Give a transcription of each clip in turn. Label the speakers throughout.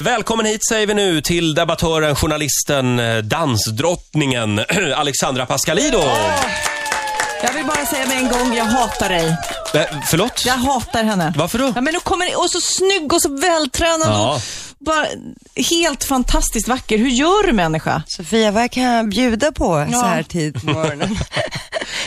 Speaker 1: välkommen hit säger vi nu till debattören, journalisten, eh, dansdrottningen Alexandra Pascalido.
Speaker 2: Jag vill bara säga med en gång, jag hatar dig.
Speaker 1: Eh, förlåt?
Speaker 2: Jag hatar henne.
Speaker 1: Varför då?
Speaker 2: Ja, men nu kommer ni- och så snygg och så vältränad
Speaker 1: Ja.
Speaker 2: och bara helt fantastiskt vacker. Hur gör du människa?
Speaker 3: Sofia, vad kan jag bjuda på
Speaker 2: Ja.
Speaker 3: så här tid på morgonen?
Speaker 1: Hur,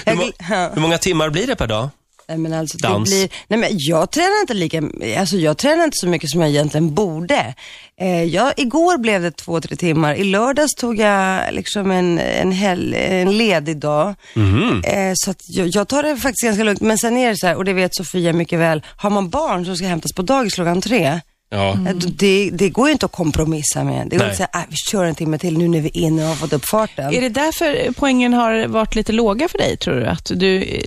Speaker 3: jag,
Speaker 1: må-
Speaker 3: gl- ja.
Speaker 1: hur många timmar blir det per dag?
Speaker 3: Nej, men alltså, det
Speaker 1: Dans.
Speaker 3: blir, nej, men jag tränar inte lika, alltså jag tränar inte så mycket som jag egentligen borde. Eh, jag, igår blev det två, tre timmar. I lördags tog jag liksom en, en, hel, en ledig dag.
Speaker 1: Mhm.
Speaker 3: Eh, så att jag, jag tar det faktiskt ganska lugnt. Men sen är det så här, och det vet Sofia mycket väl, har man barn som ska hämtas på dagis klockan tre,
Speaker 1: Ja.
Speaker 3: eh, då- Det, det går ju inte att kompromissa med. Det går
Speaker 1: Nej.
Speaker 3: inte att säga, "Ah, vi kör en timme till nu när vi är inne och har fått upp farten.
Speaker 2: Är det därför poängen har varit lite låga för dig, tror du? Att du eh,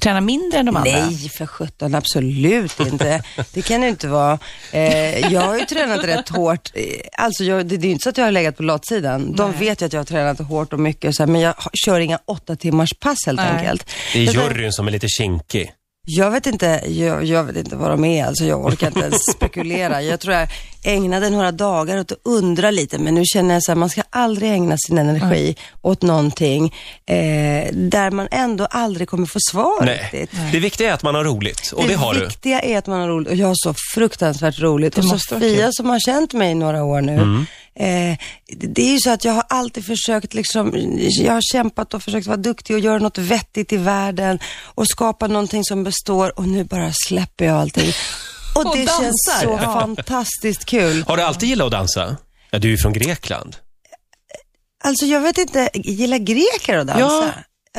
Speaker 2: tränar mindre än de andra?
Speaker 3: Nej, för sjutton, absolut inte. Det kan det ju inte vara. Eh, jag har ju tränat rätt hårt. Eh, Alltså, jag, det, det är ju inte så att jag har legat på latsidan. De vet ju att jag har tränat hårt och mycket, och så här, men jag har- kör inga åtta timmars pass helt
Speaker 2: Nej.
Speaker 3: enkelt.
Speaker 1: Det är
Speaker 3: Jag-
Speaker 1: juryn som är lite kinkig.
Speaker 3: jag vet inte, jag, jag vet inte vad de är, alltså jag orkar inte ens spekulera. Jag tror jag ägnade några dagar åt att undra lite, men nu känner jag så här, man ska aldrig ägna sin energi åt någonting eh, där man ändå aldrig kommer få svar
Speaker 1: Nej.
Speaker 3: riktigt.
Speaker 1: Det viktiga är att man har roligt och det, har
Speaker 3: det
Speaker 1: du.
Speaker 3: viktiga är att man har roligt och jag har så fruktansvärt roligt.
Speaker 2: Det
Speaker 3: Och
Speaker 2: måste vara
Speaker 3: Sofia
Speaker 2: kul.
Speaker 3: som har känt mig i några år nu, eh, det- det är ju så att jag har alltid försökt, liksom, jag har kämpat och försökt vara duktig och göra något vettigt i världen och skapa någonting som består och nu bara släpper jag allting. Och,
Speaker 2: Och
Speaker 3: det
Speaker 2: dansar.
Speaker 3: känns så
Speaker 2: Ja.
Speaker 3: fantastiskt kul.
Speaker 1: Har du alltid gillat att dansa? Ja, du är ju från Grekland.
Speaker 3: Alltså jag vet inte, gillar greker att dansa?
Speaker 1: Ja.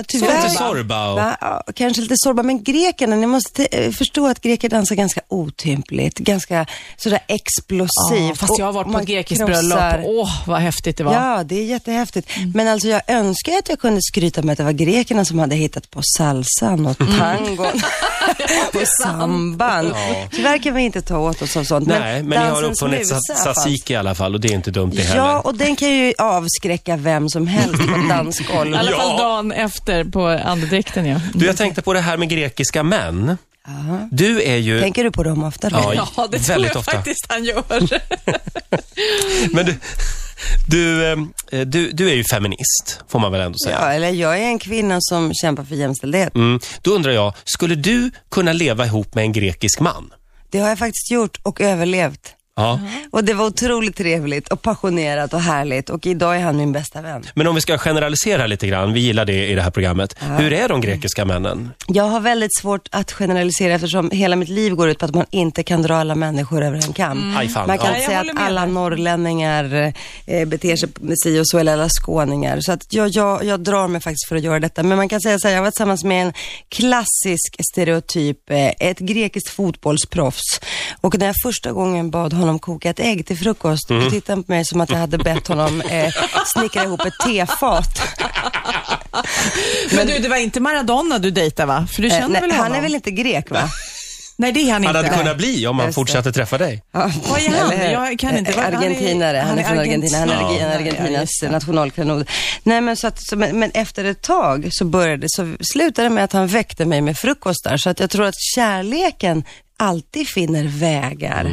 Speaker 3: Tyvärr.
Speaker 1: Lite Zorba och...
Speaker 3: Va? Ja, kanske lite sorba, men grekerna, ni måste eh, förstå att greker dansar ganska otympligt, ganska sådär explosivt.
Speaker 2: Ja, fast jag har
Speaker 3: Och
Speaker 2: varit på
Speaker 3: man
Speaker 2: ett grekiskt
Speaker 3: krossar.
Speaker 2: bröllop. Åh, vad häftigt det var.
Speaker 3: Ja, det är jättehäftigt. Men alltså jag önskar att jag kunde skryta med att det var grekerna som hade hittat på salsan och tangon och samban. Tyvärr kan vi inte ta åt oss av sånt.
Speaker 1: Nej, men ni har
Speaker 3: dansens
Speaker 1: uppfunnit sa-
Speaker 3: musa fanns.
Speaker 1: tzatziki i alla fall och det är inte dumt det heller.
Speaker 3: Ja, och den kan ju avskräcka vem som helst på
Speaker 2: I
Speaker 3: dansgolv.
Speaker 2: alla fall
Speaker 1: Ja.
Speaker 2: dagen efter på andedräkten, ja.
Speaker 1: Du, jag tänkte på det här med grekiska män. Du är ju...
Speaker 3: Tänker du på dem ofta då?
Speaker 1: Ja,
Speaker 2: Ja, det tror
Speaker 1: väldigt
Speaker 2: jag
Speaker 1: ofta.
Speaker 2: faktiskt han gör.
Speaker 1: Men du, du, ehm, eh, du, du är ju feminist, får man väl ändå säga.
Speaker 3: Ja, eller jag är en kvinna som kämpar för jämställdhet.
Speaker 1: Mm. Då undrar jag, skulle du kunna leva ihop med en grekisk man?
Speaker 3: Det har jag faktiskt gjort och överlevt.
Speaker 1: Ja.
Speaker 2: Mm.
Speaker 3: Och det var otroligt trevligt och passionerat och härligt och idag är han min bästa vän.
Speaker 1: Men om vi ska generalisera lite grann, vi gillar det i det här programmet. Hur är de grekiska männen?
Speaker 3: Jag har väldigt svårt att generalisera eftersom hela mitt liv går ut på att man inte kan dra alla människor över en kam.
Speaker 2: Mm.
Speaker 1: Aj, fan,
Speaker 3: Man kan
Speaker 1: ja.
Speaker 3: inte
Speaker 2: Jag
Speaker 3: säga
Speaker 2: håller
Speaker 3: att
Speaker 2: med
Speaker 3: alla
Speaker 2: dig.
Speaker 3: norrlänningar eh, beter sig med si och så eller alla skåningar. Så att jag, jag, jag drar mig faktiskt för att göra detta. Men man kan säga så här, jag var tillsammans med en klassisk stereotyp, eh, ett grekiskt fotbollsproffs. Och när jag första gången bad honom koka ett ägg till frukost,
Speaker 2: Mm.
Speaker 3: då tittade han på mig som att jag hade bett honom eh, snickra ihop ett tefat.
Speaker 2: Men du, det var inte Maradona du dejtade, va? För du
Speaker 3: Eh,
Speaker 2: känner
Speaker 3: nej,
Speaker 2: väl honom?
Speaker 3: han är väl inte grek va?
Speaker 2: Nej, det är han inte.
Speaker 1: Han hade kunnat bli om han
Speaker 3: Just det.
Speaker 1: fortsatte träffa dig.
Speaker 3: Ja.
Speaker 2: Vad är han?
Speaker 3: Eller hur?
Speaker 2: Jag kan inte. Vad- han är-
Speaker 3: Argentinare. Han är,
Speaker 2: han är
Speaker 3: från Argentina. Han är
Speaker 2: argentinare.
Speaker 3: Argen-
Speaker 2: Ja.
Speaker 3: Argentinas nationalkanon. Nej, men, så att, så, men, men efter ett tag så, började, så slutade det med att han väckte mig med frukostar. Så att jag tror att kärleken alltid finner vägar.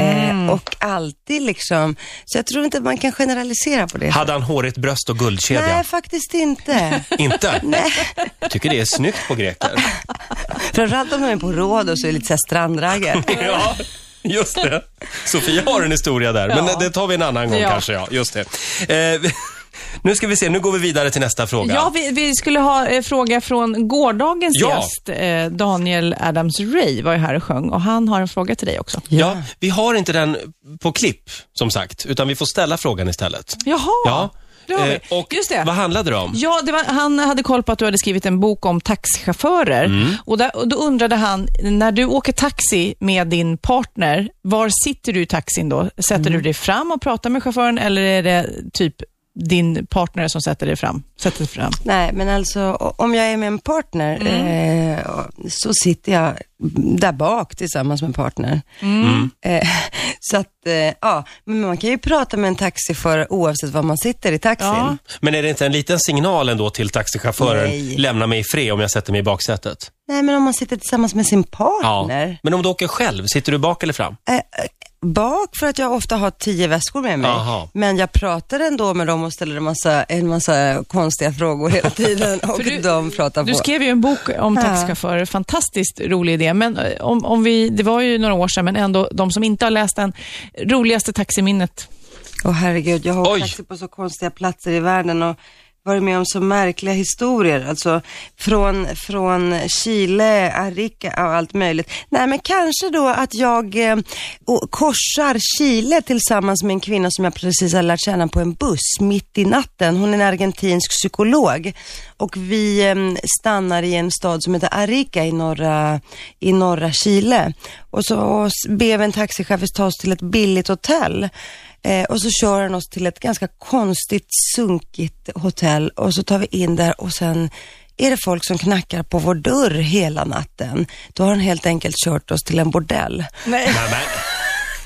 Speaker 3: Eh, och alltid liksom. Så jag tror inte att man kan generalisera på det.
Speaker 2: Alltså-
Speaker 1: Hade han hårigt bröst och guldkedja?
Speaker 3: Nej, faktiskt inte.
Speaker 1: Inte? Tycker det är snyggt på greker.
Speaker 3: Framförallt om de är på råd och så är det lite så här strandraggare.
Speaker 1: Ja, just det. Sofia har en historia där, men
Speaker 2: Ja.
Speaker 1: det tar vi en annan gång
Speaker 2: Ja.
Speaker 1: kanske. Ja, just det. Eh, vi- nu ska vi se, nu går vi vidare till nästa fråga.
Speaker 2: Ja, vi, vi skulle ha en fråga från gårdagens
Speaker 1: Ja.
Speaker 2: gäst. Eh, Daniel Adams Ray var ju här och sjöng och han har en fråga till dig också.
Speaker 1: Ja, vi har inte den på klipp, som sagt, utan vi får ställa frågan istället.
Speaker 2: Jaha,
Speaker 1: Ja.
Speaker 2: det har vi.
Speaker 1: Eh, och
Speaker 2: Just det.
Speaker 1: vad handlade det om?
Speaker 2: Ja, det var, han hade koll på att du hade skrivit en bok om taxichaufförer. Och, där, och då undrade han, när du åker taxi med din partner, var sitter du i taxin då? Sätter du dig fram och pratar med chauffören eller är det typ din partner som sätter dig fram? Sätter dig fram.
Speaker 3: Nej, men alltså o- om jag är med en partner
Speaker 2: Mm.
Speaker 3: eh, och- så sitter jag där bak tillsammans med en partner.
Speaker 2: Mm.
Speaker 3: Eh, så att, eh, ja, men man kan ju prata med en taxiförare oavsett var man sitter i taxin.
Speaker 2: Ja.
Speaker 1: Men är det inte en liten signal ändå till taxichauffören,
Speaker 3: Nej.
Speaker 1: lämna mig i fred om jag sätter mig i baksätet?
Speaker 3: Nej, men om man sitter tillsammans med sin partner.
Speaker 1: Men om du åker själv, sitter du bak eller fram?
Speaker 3: Eh, eh, bak för att jag ofta har tio väskor med mig.
Speaker 1: Aha.
Speaker 3: Men jag pratar ändå med dem och ställer en massa, en massa konstiga frågor hela tiden och
Speaker 2: du-
Speaker 3: de pratar på.
Speaker 2: Du skrev ju en bok om
Speaker 3: Ja.
Speaker 2: taxichaufförer, fantastiskt rolig idé. Men eh, om, om vi, det var ju några år sedan, men ändå de som inte har läst den, roligaste taximinnet.
Speaker 3: Åh herregud, jag har
Speaker 1: Oj.
Speaker 3: åkt taxi på så konstiga platser i världen och varit med om så märkliga historier. Alltså från, från Chile, Arica och allt möjligt. Nej men kanske då att jag eh, å- korsar Chile tillsammans med en kvinna som jag precis har lärt känna på en buss mitt i natten. Hon är en argentinsk psykolog och vi eh, stannar i en stad som heter Arica i norra, i norra Chile. Och så ber vi en taxichaufför ta oss till ett billigt hotell. Eh, och så kör han oss till ett ganska konstigt, sunkigt hotell och så tar vi in där och sen är det folk som knackar på vår dörr hela natten. Då har han helt enkelt kört oss till en bordell.
Speaker 2: Nej.
Speaker 1: Nämen.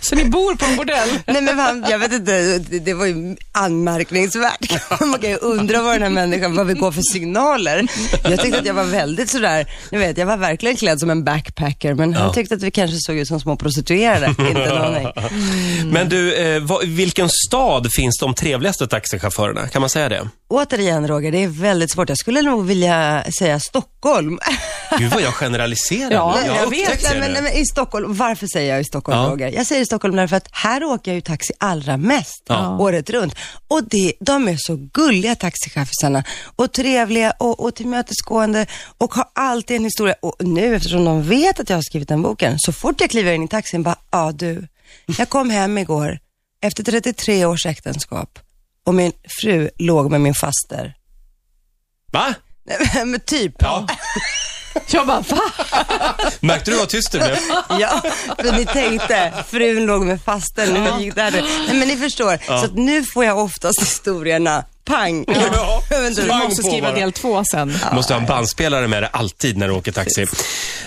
Speaker 2: Så ni bor på en bordell?
Speaker 3: Nej men fan, jag vet inte, det, det var ju anmärkningsvärt. Man kan ju undra vad den här människan, vad vi går för signaler. Jag tyckte att jag var väldigt sådär, ni vet, jag var verkligen klädd som en backpacker, men han tyckte att vi kanske såg ut som små prostituerade. Inte en aning.
Speaker 1: Mm. Men du, eh, vad, vilken stad finns de trevligaste taxichaufförerna? Kan man säga det?
Speaker 3: Återigen Roger, det är väldigt svårt. Jag skulle nog vilja säga Stockholm.
Speaker 1: Gud vad jag generaliserar.
Speaker 2: Ja,
Speaker 1: jag
Speaker 2: jag
Speaker 1: har
Speaker 2: vet.
Speaker 1: upptäckt
Speaker 3: Nej,
Speaker 1: det
Speaker 3: men,
Speaker 1: nu.
Speaker 3: nej, men I Stockholm, varför säger jag i Stockholm
Speaker 1: Ja.
Speaker 3: Roger? Jag säger i Stockholm därför att här åker jag ju taxi allra mest
Speaker 1: Ja.
Speaker 3: året runt. Och det, de är så gulliga taxichaufförerna och trevliga och, och tillmötesgående och har alltid en historia. Och nu eftersom de vet att jag har skrivit den boken, så fort jag kliver in i taxin bara, ja du, jag kom hem igår efter 33 års äktenskap och min fru låg med min faster.
Speaker 1: Va?
Speaker 3: Nej, men- men typ.
Speaker 1: Ja.
Speaker 2: Jag bara, va?
Speaker 1: Märkte du vad tyst du blev?
Speaker 3: Ja, för ni tänkte, frun låg med fasten när vi gick där. Nej men ni förstår, så att nu får jag oftast historierna, pang.
Speaker 1: Ja.
Speaker 3: Jag vet inte hur
Speaker 1: Pang
Speaker 2: Du
Speaker 3: många-
Speaker 2: måste
Speaker 1: på
Speaker 2: skriva
Speaker 1: bara.
Speaker 2: del två sen.
Speaker 1: Måste ha en bandspelare med dig alltid när du åker taxi.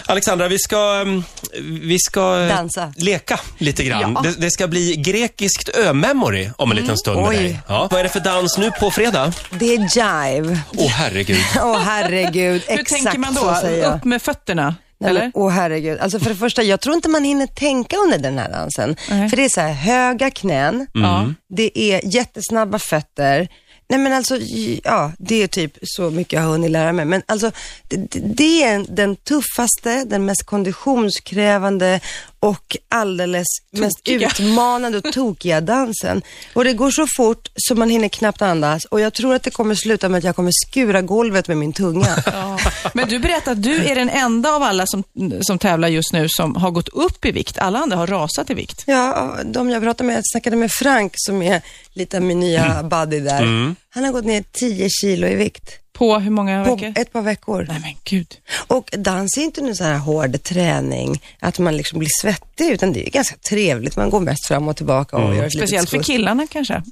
Speaker 1: Alexandra, vi ska, mm, vi ska eh,
Speaker 3: Dansa.
Speaker 1: leka lite grann.
Speaker 2: Ja.
Speaker 1: Det, det ska bli grekiskt ö-memory om en liten stund med
Speaker 3: Mm. Oj.
Speaker 1: dig. Ja. Vad är det för dans nu på fredag?
Speaker 3: Det är jive.
Speaker 1: Åh herregud.
Speaker 3: Åh herregud,
Speaker 2: Hur tänker man
Speaker 3: exakt
Speaker 2: då?
Speaker 3: så säger jag.
Speaker 2: Upp med fötterna?
Speaker 3: Nej, men,
Speaker 2: Eller?
Speaker 3: Åh herregud. Alltså för det första, jag tror inte man hinner tänka under den här dansen.
Speaker 2: Nej.
Speaker 3: För det är så här höga knän,
Speaker 2: Ja.
Speaker 3: det är jättesnabba fötter. Nej men alltså, j- ja, det är typ så mycket jag har hunnit lära mig. Men alltså, det, det- det är en- den tuffaste, den mest konditionskrävande och alldeles
Speaker 2: Tokiga.
Speaker 3: mest utmanande och tokiga dansen. Och det går så fort så man hinner knappt andas och jag tror att det kommer sluta med att jag kommer skura golvet med min tunga.
Speaker 2: Ja. Men du berättade att du är den enda av alla som, som tävlar just nu som har gått upp i vikt. Alla andra har rasat i vikt.
Speaker 3: Ja, de jag pratade med, jag snackade med Frank som är lite av min nya
Speaker 1: Mm.
Speaker 3: buddy där. Han har gått ner 10 kilo i vikt
Speaker 2: På hur många
Speaker 3: på
Speaker 2: veckor?
Speaker 3: ett par veckor.
Speaker 2: Nej men gud.
Speaker 3: Och dans är inte nu så här hård träning, att man liksom blir svettig, utan det är ganska trevligt. Man går mest fram och tillbaka och
Speaker 1: Mm.
Speaker 3: gör ett
Speaker 2: Speciellt för
Speaker 3: litet skutt.
Speaker 2: killarna kanske.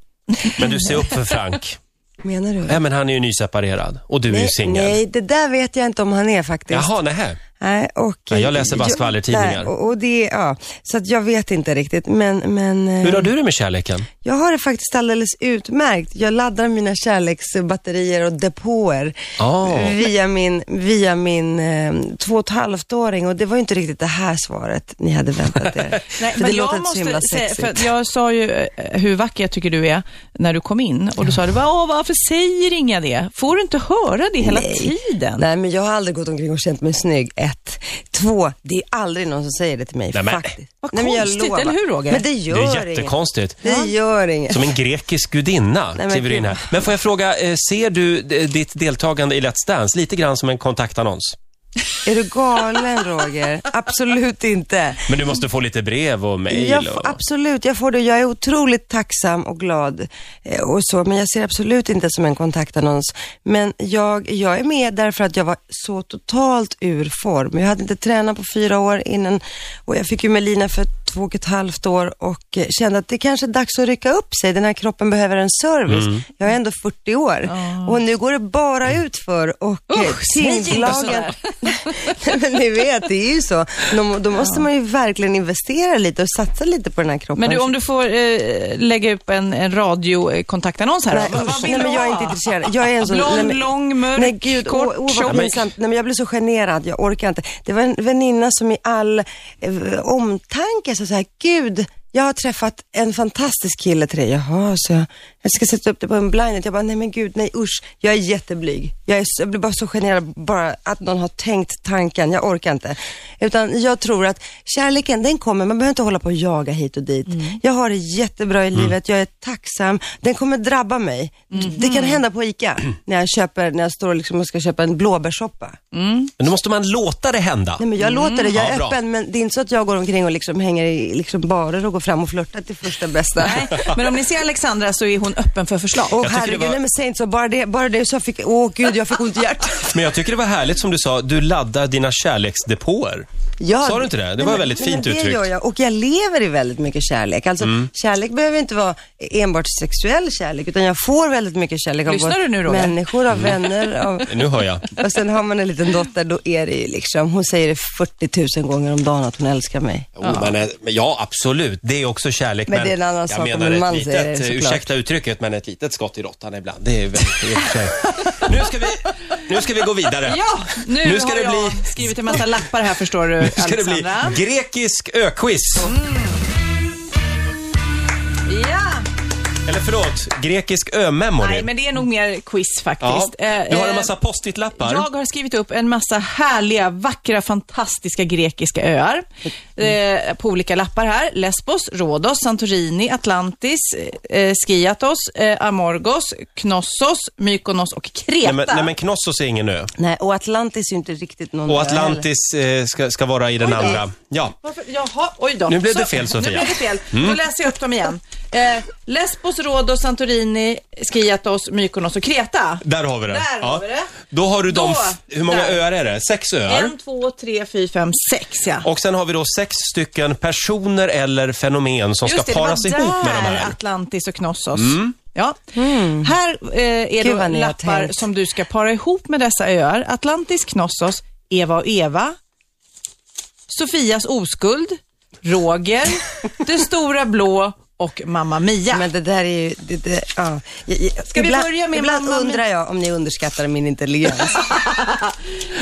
Speaker 1: Men du ser upp för Frank.
Speaker 3: Menar du?
Speaker 1: Nej, men han är ju nyseparerad och du är ju singel.
Speaker 3: nej, det där vet jag inte om han är faktiskt.
Speaker 1: Jaha, nähä.
Speaker 3: Nej, och,
Speaker 1: Nej, jag läser bara
Speaker 3: Jo,
Speaker 1: skvallertidningar.
Speaker 3: nej, Och, och det, ja, så att jag vet inte riktigt, men, men eh,
Speaker 1: Hur har du det med kärleken?
Speaker 3: jag har det faktiskt alldeles utmärkt. Jag laddar mina kärleksbatterier och depåer
Speaker 2: Ah.
Speaker 1: Ja.
Speaker 3: via min, via min eh, två och ett halvt-åring och det var ju inte riktigt det här svaret ni hade väntat er.
Speaker 2: Nej,
Speaker 3: för det låter inte så himla sexigt.
Speaker 2: för att jag sa ju eh, hur vacker jag tycker du är när du kom in och då sa du bara, Åh, varför säger inga det? Får du inte höra det hela tiden?
Speaker 3: Nej, men jag har aldrig gått omkring och känt mig snygg, ett. Två, det är aldrig någon som säger det till mig
Speaker 1: Nej, men-
Speaker 3: faktiskt.
Speaker 2: Vad
Speaker 3: Nej, men jag
Speaker 2: konstigt,
Speaker 3: lovar.
Speaker 2: eller hur, Roger?
Speaker 3: Men det
Speaker 1: Det är
Speaker 3: gör inget.
Speaker 1: jättekonstigt.
Speaker 3: Det gör inget.
Speaker 1: Som en grekisk gudinna
Speaker 3: men
Speaker 1: kliver in här. Men får jag fråga, eh, ser du eh, ditt deltagande i Let's Dance lite grann som en kontaktannons?
Speaker 3: Är du galen Roger? Absolut inte.
Speaker 1: Men du måste få lite brev och
Speaker 3: Jag,
Speaker 1: mejl
Speaker 3: f-
Speaker 1: och...
Speaker 3: absolut, jag får det. Jag är otroligt tacksam och glad eh, och så, men jag ser absolut inte som en kontaktannons. Men jag, jag är med därför att jag var så totalt ur form. Jag hade inte tränat på fyra år innan och jag fick ju Melina för två och ett halvt år och eh, kände att det kanske är dags att rycka upp sig. Den här kroppen behöver en service.
Speaker 1: Mm.
Speaker 3: Jag är ändå 40 år och nu går det bara ut för och eh,
Speaker 2: Usch, säg inte
Speaker 3: tyngdlagen,
Speaker 2: sådär.
Speaker 3: Nej, men ni vet, det är ju så. Då, då måste man ju verkligen investera lite och satsa lite på den här kroppen.
Speaker 2: Men du, om du får eh, lägga upp en, en radiokontaktannons här.
Speaker 3: Nej,
Speaker 2: Vad- vad
Speaker 3: usch.
Speaker 2: vill
Speaker 3: nej,
Speaker 2: du
Speaker 3: men jag är
Speaker 2: ha?
Speaker 3: inte intresserad. Jag är en sån...
Speaker 2: Blond,
Speaker 3: nej, men-
Speaker 2: lång, mörk,
Speaker 3: nej, gud,
Speaker 2: kort,
Speaker 3: åh, åh,
Speaker 2: tjock.
Speaker 3: vad pinsamt. Nej, men jag blir så generad, jag orkar inte. Det var en väninna som i all eh, omtanke sa så här, gud, jag har träffat en fantastisk kille till dig. Jaha, så jag, jag ska sätta upp det på en blindet. Jag bara, nej men gud, nej usch. Jag är jätteblyg. Jag, är, så- jag blir bara så generad bara att någon har tänkt tanken. Jag orkar inte. Utan jag tror att kärleken, den kommer. Man behöver inte hålla på och jaga hit och dit. Jag har det jättebra i
Speaker 1: Mm.
Speaker 3: livet. Jag är tacksam. Den kommer drabba mig. Det kan hända på ICA när jag, köper, när jag står liksom och ska köpa en blåbärssoppa.
Speaker 1: Men då måste man låta det hända.
Speaker 3: Nej, men jag låter det, jag är
Speaker 1: Ja, bra.
Speaker 3: öppen, men det är inte så att jag går omkring och liksom hänger i liksom barer och går fram och flörtar till första bästa.
Speaker 2: Nej, men om ni ser Alexandra så är hon öppen för förslag.
Speaker 3: Åh
Speaker 1: tycker det
Speaker 3: herregud,
Speaker 1: var-
Speaker 3: nej men säg inte så, bara det, bara det så jag fick, åh gud jag fick ont i hjärtat.
Speaker 1: Men jag tycker det var härligt som du sa, du laddar dina kärleksdepåer.
Speaker 3: Jag-
Speaker 1: Sa du inte det? Det
Speaker 3: Nej,
Speaker 1: var
Speaker 3: men-
Speaker 1: väldigt
Speaker 3: nej,
Speaker 1: fint
Speaker 3: men det
Speaker 1: uttryckt. Mm.
Speaker 3: Gör jag. Och jag lever i väldigt mycket kärlek. Alltså, Kärlek behöver inte vara enbart sexuell kärlek, utan jag får väldigt mycket kärlek av
Speaker 2: Lyssnar
Speaker 3: både
Speaker 2: du nu, Roger?
Speaker 3: människor, av
Speaker 1: Mm.
Speaker 3: vänner. Av...
Speaker 1: Nu hör jag.
Speaker 3: Och sen har man en liten dotter, då är det ju liksom, hon säger det 40 000 gånger om dagen att hon älskar mig.
Speaker 1: Jo, men, eh, men ja, absolut. Det är också kärlek.
Speaker 3: Men det är en annan
Speaker 1: jag
Speaker 3: sak om
Speaker 1: menar
Speaker 3: en
Speaker 1: ett
Speaker 3: man säger
Speaker 1: litet,
Speaker 3: det,
Speaker 1: eh,
Speaker 3: såklart.
Speaker 1: ursäkta uttrycket, men ett litet skott i råttan ibland. Det är väldigt, i och för sig. nu, ska vi, nu ska vi gå vidare.
Speaker 2: Ja, nu,
Speaker 1: Nu ska
Speaker 2: har
Speaker 1: det
Speaker 2: jag
Speaker 1: bli-
Speaker 2: skrivit en massa lappar här förstår du,
Speaker 1: Nu ska det bli
Speaker 2: Alexandra.
Speaker 1: grekisk öquiz.
Speaker 3: Mm.
Speaker 2: Ja.
Speaker 1: Eller förlåt, grekisk ömemory.
Speaker 2: Nej, men det är nog mer quiz
Speaker 1: ja.
Speaker 2: faktiskt. Eh,
Speaker 1: Du har en
Speaker 2: eh,
Speaker 1: massa post-it-lappar.
Speaker 2: Jag har skrivit upp en massa härliga, vackra, fantastiska grekiska öar eh, på olika lappar här. Lesbos, Rhodos, Santorini, Atlantis, eh, Skiathos, eh, Amorgos, Knossos, Mykonos och Kreta.
Speaker 1: Nej, men, nej, men Knossos är ingen ö.
Speaker 3: Nej, och Atlantis är ju inte riktigt någon
Speaker 1: Och
Speaker 3: ö heller.
Speaker 1: Atlantis eh, ska, ska vara i den
Speaker 2: Oj, nej.
Speaker 1: andra. Ja.
Speaker 2: Varför? Jaha, oj då.
Speaker 1: Nu blev det fel, Sofia. Mm.
Speaker 2: Nu blev det fel. Då läser jag upp dem igen. Eh, Lesbos, Rhodos, Santorini, Skiathos, Mykonos och Kreta.
Speaker 1: Där har vi det.
Speaker 2: Där har vi det.
Speaker 1: Då har du de...
Speaker 2: Då,
Speaker 1: f- Hur många
Speaker 2: där.
Speaker 1: öar är det? Sex öar.
Speaker 2: En, två, tre, fyra, fem, sex ja.
Speaker 1: Och sen har vi då sex stycken personer eller fenomen som ska
Speaker 2: Just det,
Speaker 1: paras
Speaker 2: det var
Speaker 1: ihop med de
Speaker 2: där
Speaker 1: här. Mm.
Speaker 2: Atlantis och Knossos. Ja. Här eh, är
Speaker 3: Mm. Gud, vad
Speaker 2: då
Speaker 3: ni har
Speaker 2: lappar
Speaker 3: tänkt.
Speaker 2: som du ska para ihop med dessa öar. Atlantis, Knossos, Eva och Eva, Sofias oskuld, Roger, Det stora blå och Mamma Mia.
Speaker 3: Men det där är ju, det, det, ja. Jag- jag-
Speaker 2: Ska vi börja med
Speaker 3: Ibland
Speaker 2: Mamma Mia?
Speaker 3: undrar jag om ni underskattar min intelligens.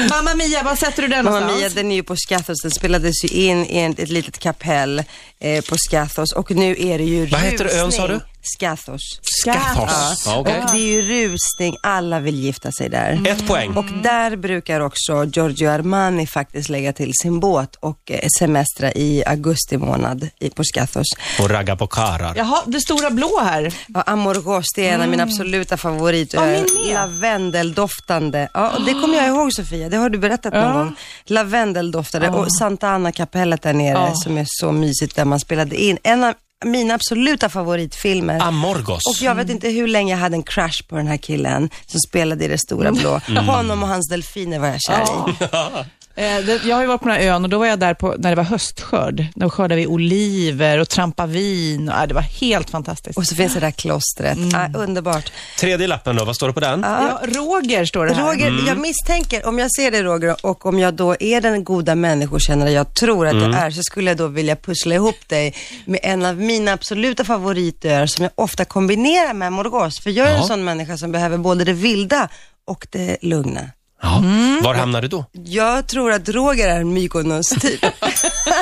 Speaker 2: Mamma Mia, var sätter du den
Speaker 3: Mamma
Speaker 2: någonstans?
Speaker 3: Mia, den är ju på Scathos, den spelades ju in i en- ett litet kapell eh, på Scathos och nu är det ju
Speaker 1: Vad heter ön, sa du?
Speaker 3: Scathos.
Speaker 1: Skathos. Ja, okej. Mm.
Speaker 3: Och det är ju rusning, alla vill gifta sig där.
Speaker 1: Ett poäng.
Speaker 3: Och där brukar också Giorgio Armani faktiskt lägga till sin båt och eh, semestra i augusti månad i, på Scathos.
Speaker 1: Och ragga på karar.
Speaker 2: Jaha, Det stora blå här.
Speaker 3: Ja, Amorgos, det är en av mina absoluta favoritöar.
Speaker 2: Mm. min med. Ah.
Speaker 3: Lavendeldoftande. Ja, och det kommer jag ihåg Sofia, det har du berättat någon gång. Lavendeldoftande
Speaker 2: Ah.
Speaker 3: och Santa Ana-kapellet där nere
Speaker 2: Ja.
Speaker 3: som är så mysigt där man spelade in. En av mina absoluta favoritfilmer.
Speaker 1: Amorgos.
Speaker 3: Och jag vet inte hur länge jag hade en crush på den här killen som spelade i Det stora blå.
Speaker 2: Mm.
Speaker 3: Honom och hans delfiner var jag kär i.
Speaker 2: Eh, det, jag har ju varit på den här ön och då var jag där på, när det var höstskörd. Då skördade vi oliver och trampade vin. Och, ja, det var helt fantastiskt.
Speaker 3: Och så finns det där klostret.
Speaker 2: Mm.
Speaker 3: Ah, underbart.
Speaker 1: Tredje lappen då, vad står det på den?
Speaker 2: Ja, Ah. Roger står det här.
Speaker 3: Roger, jag misstänker, om jag ser dig Roger och om jag då är den goda människokännare jag tror att jag är, så skulle jag då vilja pussla ihop dig med en av mina absoluta favoritöar som jag ofta kombinerar med Morgås. För jag är
Speaker 1: Ja.
Speaker 3: en sån människa som behöver både det vilda och det lugna.
Speaker 1: Ja.
Speaker 2: Mm.
Speaker 1: Var hamnar du då?
Speaker 3: Jag tror att Roger är en typ. Mykonos-typ.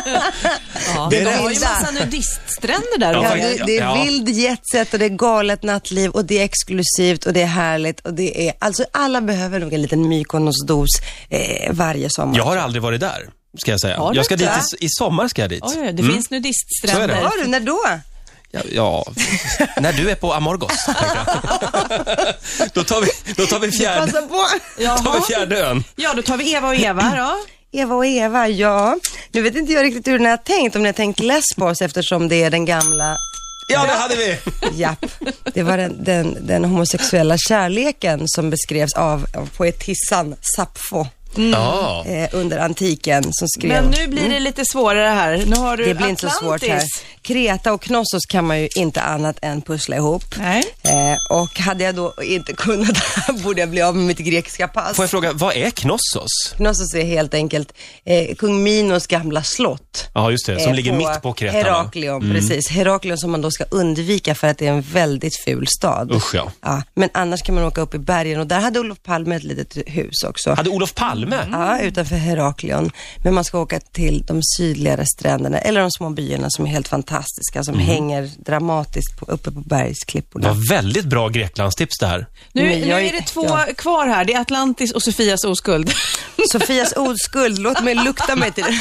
Speaker 2: Ja.
Speaker 1: Det är
Speaker 2: de
Speaker 1: det.
Speaker 2: har ju massa nudiststränder där.
Speaker 1: Ja,
Speaker 3: Ja,
Speaker 2: Roger.
Speaker 3: det, det
Speaker 1: Ja.
Speaker 3: är vild jetset och det är galet nattliv och det är exklusivt och det är härligt och det är, alltså alla behöver nog en liten Mykonos-dos eh, varje sommar.
Speaker 1: Jag har aldrig varit där, ska jag säga.
Speaker 2: Har du
Speaker 1: Jag ska dit
Speaker 2: inte?
Speaker 1: i, i sommar ska jag dit.
Speaker 2: Oj, det finns
Speaker 1: Mm. Så är
Speaker 2: nudiststränder.
Speaker 1: det.
Speaker 3: Har du, när då?
Speaker 1: Ja, ja. när du är på Amorgos, tänkte jag. då, tar vi, då tar vi fjärde,
Speaker 3: Passa Typ,
Speaker 1: tar vi
Speaker 3: alltså, på.
Speaker 2: Jaha.
Speaker 1: fjärde Mm. ön.
Speaker 2: Ja, då tar vi Eva och Eva då.
Speaker 3: Eva och Eva, ja. Nu vet inte jag riktigt hur ni har tänkt, om ni har tänkt Lesbos eftersom det är den gamla,
Speaker 1: Ja, det hade vi.
Speaker 3: japp. Det var den, den, den homosexuella kärleken som beskrevs av, av poetissan Sappho
Speaker 2: Mm.
Speaker 1: Ja.
Speaker 3: eh, under antiken som skrev.
Speaker 2: Men nu blir det lite svårare här. Nu har du
Speaker 3: Det blir
Speaker 2: Atlantis.
Speaker 3: inte så svårt här. Kreta och Knossos kan man ju inte annat än pussla ihop.
Speaker 2: Nej.
Speaker 3: Eh, och hade jag då inte kunnat borde jag bli av med mitt grekiska pass.
Speaker 1: Får jag fråga, vad är Knossos?
Speaker 3: Knossos är helt enkelt eh, kung Minos gamla slott.
Speaker 1: Ja, just det. Som
Speaker 3: eh,
Speaker 1: ligger mitt på Kreta. va? Mm.
Speaker 3: Heraklion, precis. Heraklion som man då ska undvika för att det är en väldigt ful stad.
Speaker 1: Usch, ja.
Speaker 3: Men annars kan man åka upp i bergen och där hade Olof Palme ett litet hus också.
Speaker 1: Hade Olof Palme Malmö?
Speaker 2: Mm.
Speaker 3: Ja, utanför Heraklion. Men man ska åka till de sydligare stränderna, eller de små byarna som är helt fantastiska,
Speaker 1: Mm.
Speaker 3: som hänger dramatiskt på, uppe på
Speaker 1: Det
Speaker 3: bergsklipporna.
Speaker 1: var väldigt bra Greklandstips det här.
Speaker 2: Nu,
Speaker 3: Men
Speaker 2: nu
Speaker 3: jag
Speaker 2: är
Speaker 3: är-
Speaker 2: det två kvar här. Det är Atlantis och Sofias oskuld.
Speaker 3: Sofias oskuld, låt mig lukta mig till det.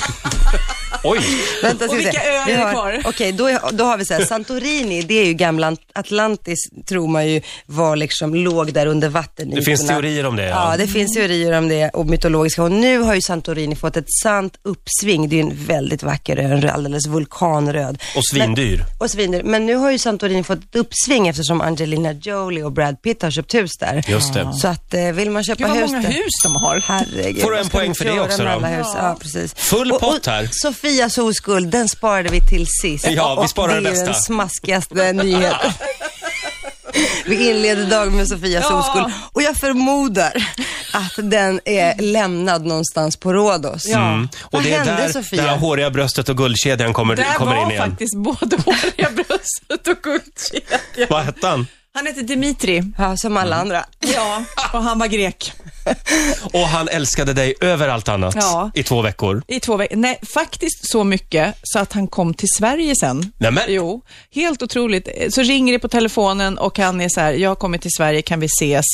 Speaker 1: Oj!
Speaker 3: Vänta,
Speaker 2: Och
Speaker 3: ska vi se.
Speaker 2: vilka öar
Speaker 3: Vi
Speaker 2: är det
Speaker 3: har-
Speaker 2: kvar?
Speaker 3: Okej, då, är- då har vi så här, Santorini, det är ju gamla Ant- Atlantis, tror man ju var liksom, låg där under vatten.
Speaker 1: Det finns teorier om det, ja.
Speaker 3: Ja, det finns teorier om det och mytologiska. Och nu har ju Santorini fått ett sant uppsving. Det är ju en väldigt vacker ö, en alldeles vulkanröd.
Speaker 1: Och svindyr.
Speaker 3: Men, och svindyr. Men nu har ju Santorini fått ett uppsving eftersom Angelina Jolie och Brad Pitt har köpt hus där.
Speaker 1: Just det.
Speaker 3: Så att eh, vill man köpa
Speaker 2: Gud vad
Speaker 3: hus
Speaker 2: många
Speaker 3: där-
Speaker 2: hus de har.
Speaker 3: Herregud.
Speaker 1: Får du en
Speaker 3: vad ska
Speaker 1: poäng
Speaker 3: de
Speaker 1: för det
Speaker 3: göra
Speaker 1: också
Speaker 3: med
Speaker 1: då?
Speaker 3: alla Hus? Ja, precis.
Speaker 1: Full pott här.
Speaker 3: Sofias oskuld, den sparade vi till sist.
Speaker 1: Ja, vi
Speaker 3: Och
Speaker 1: sparar det
Speaker 3: det är
Speaker 1: bästa.
Speaker 3: ju den smaskigaste nyheten. Vi inleder dagen med Sofias
Speaker 2: Ja.
Speaker 3: oskuld och jag förmodar att den är lämnad någonstans på Rhodos.
Speaker 1: Mm.
Speaker 3: Vad
Speaker 1: Och det är
Speaker 3: hände
Speaker 1: där
Speaker 3: Sofia?
Speaker 1: det här håriga bröstet och guldkedjan kommer,
Speaker 2: Där
Speaker 1: kommer in
Speaker 2: var
Speaker 1: igen.
Speaker 2: faktiskt både håriga bröstet och guldkedjan.
Speaker 1: Vad hette han?
Speaker 2: Han hette Dimitri.
Speaker 3: Ja, som alla andra.
Speaker 2: Ja, och han var grek.
Speaker 1: Och han älskade dig över allt annat
Speaker 2: Ja.
Speaker 1: i två veckor.
Speaker 2: I två veckor. Nej, faktiskt så mycket så att han kom till Sverige sen.
Speaker 1: Nej, men,
Speaker 2: Jo, helt otroligt. Eh, Så ringer det på telefonen och han är så här, jag har kommit till Sverige, kan vi ses?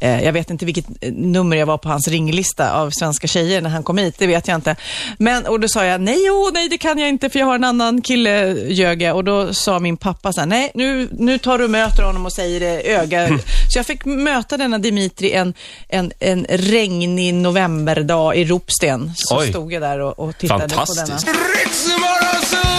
Speaker 2: Eh, jag vet inte vilket eh, nummer jag var på hans ringlista av svenska tjejer när han kom hit, det vet jag inte. Men, och då sa jag, nej, åh, nej, det kan jag inte för jag har en annan kille, ljög jag. Och då sa min pappa så här, nej, nu, nu tar du och möter honom och säger det öga. Så jag fick möta denna Dimitri en, en, en regnig novemberdag i Ropsten. Så
Speaker 1: Oj.
Speaker 2: stod jag där och, och tittade på denna.
Speaker 1: Fantastiskt.
Speaker 4: Ritzmorgonzoo!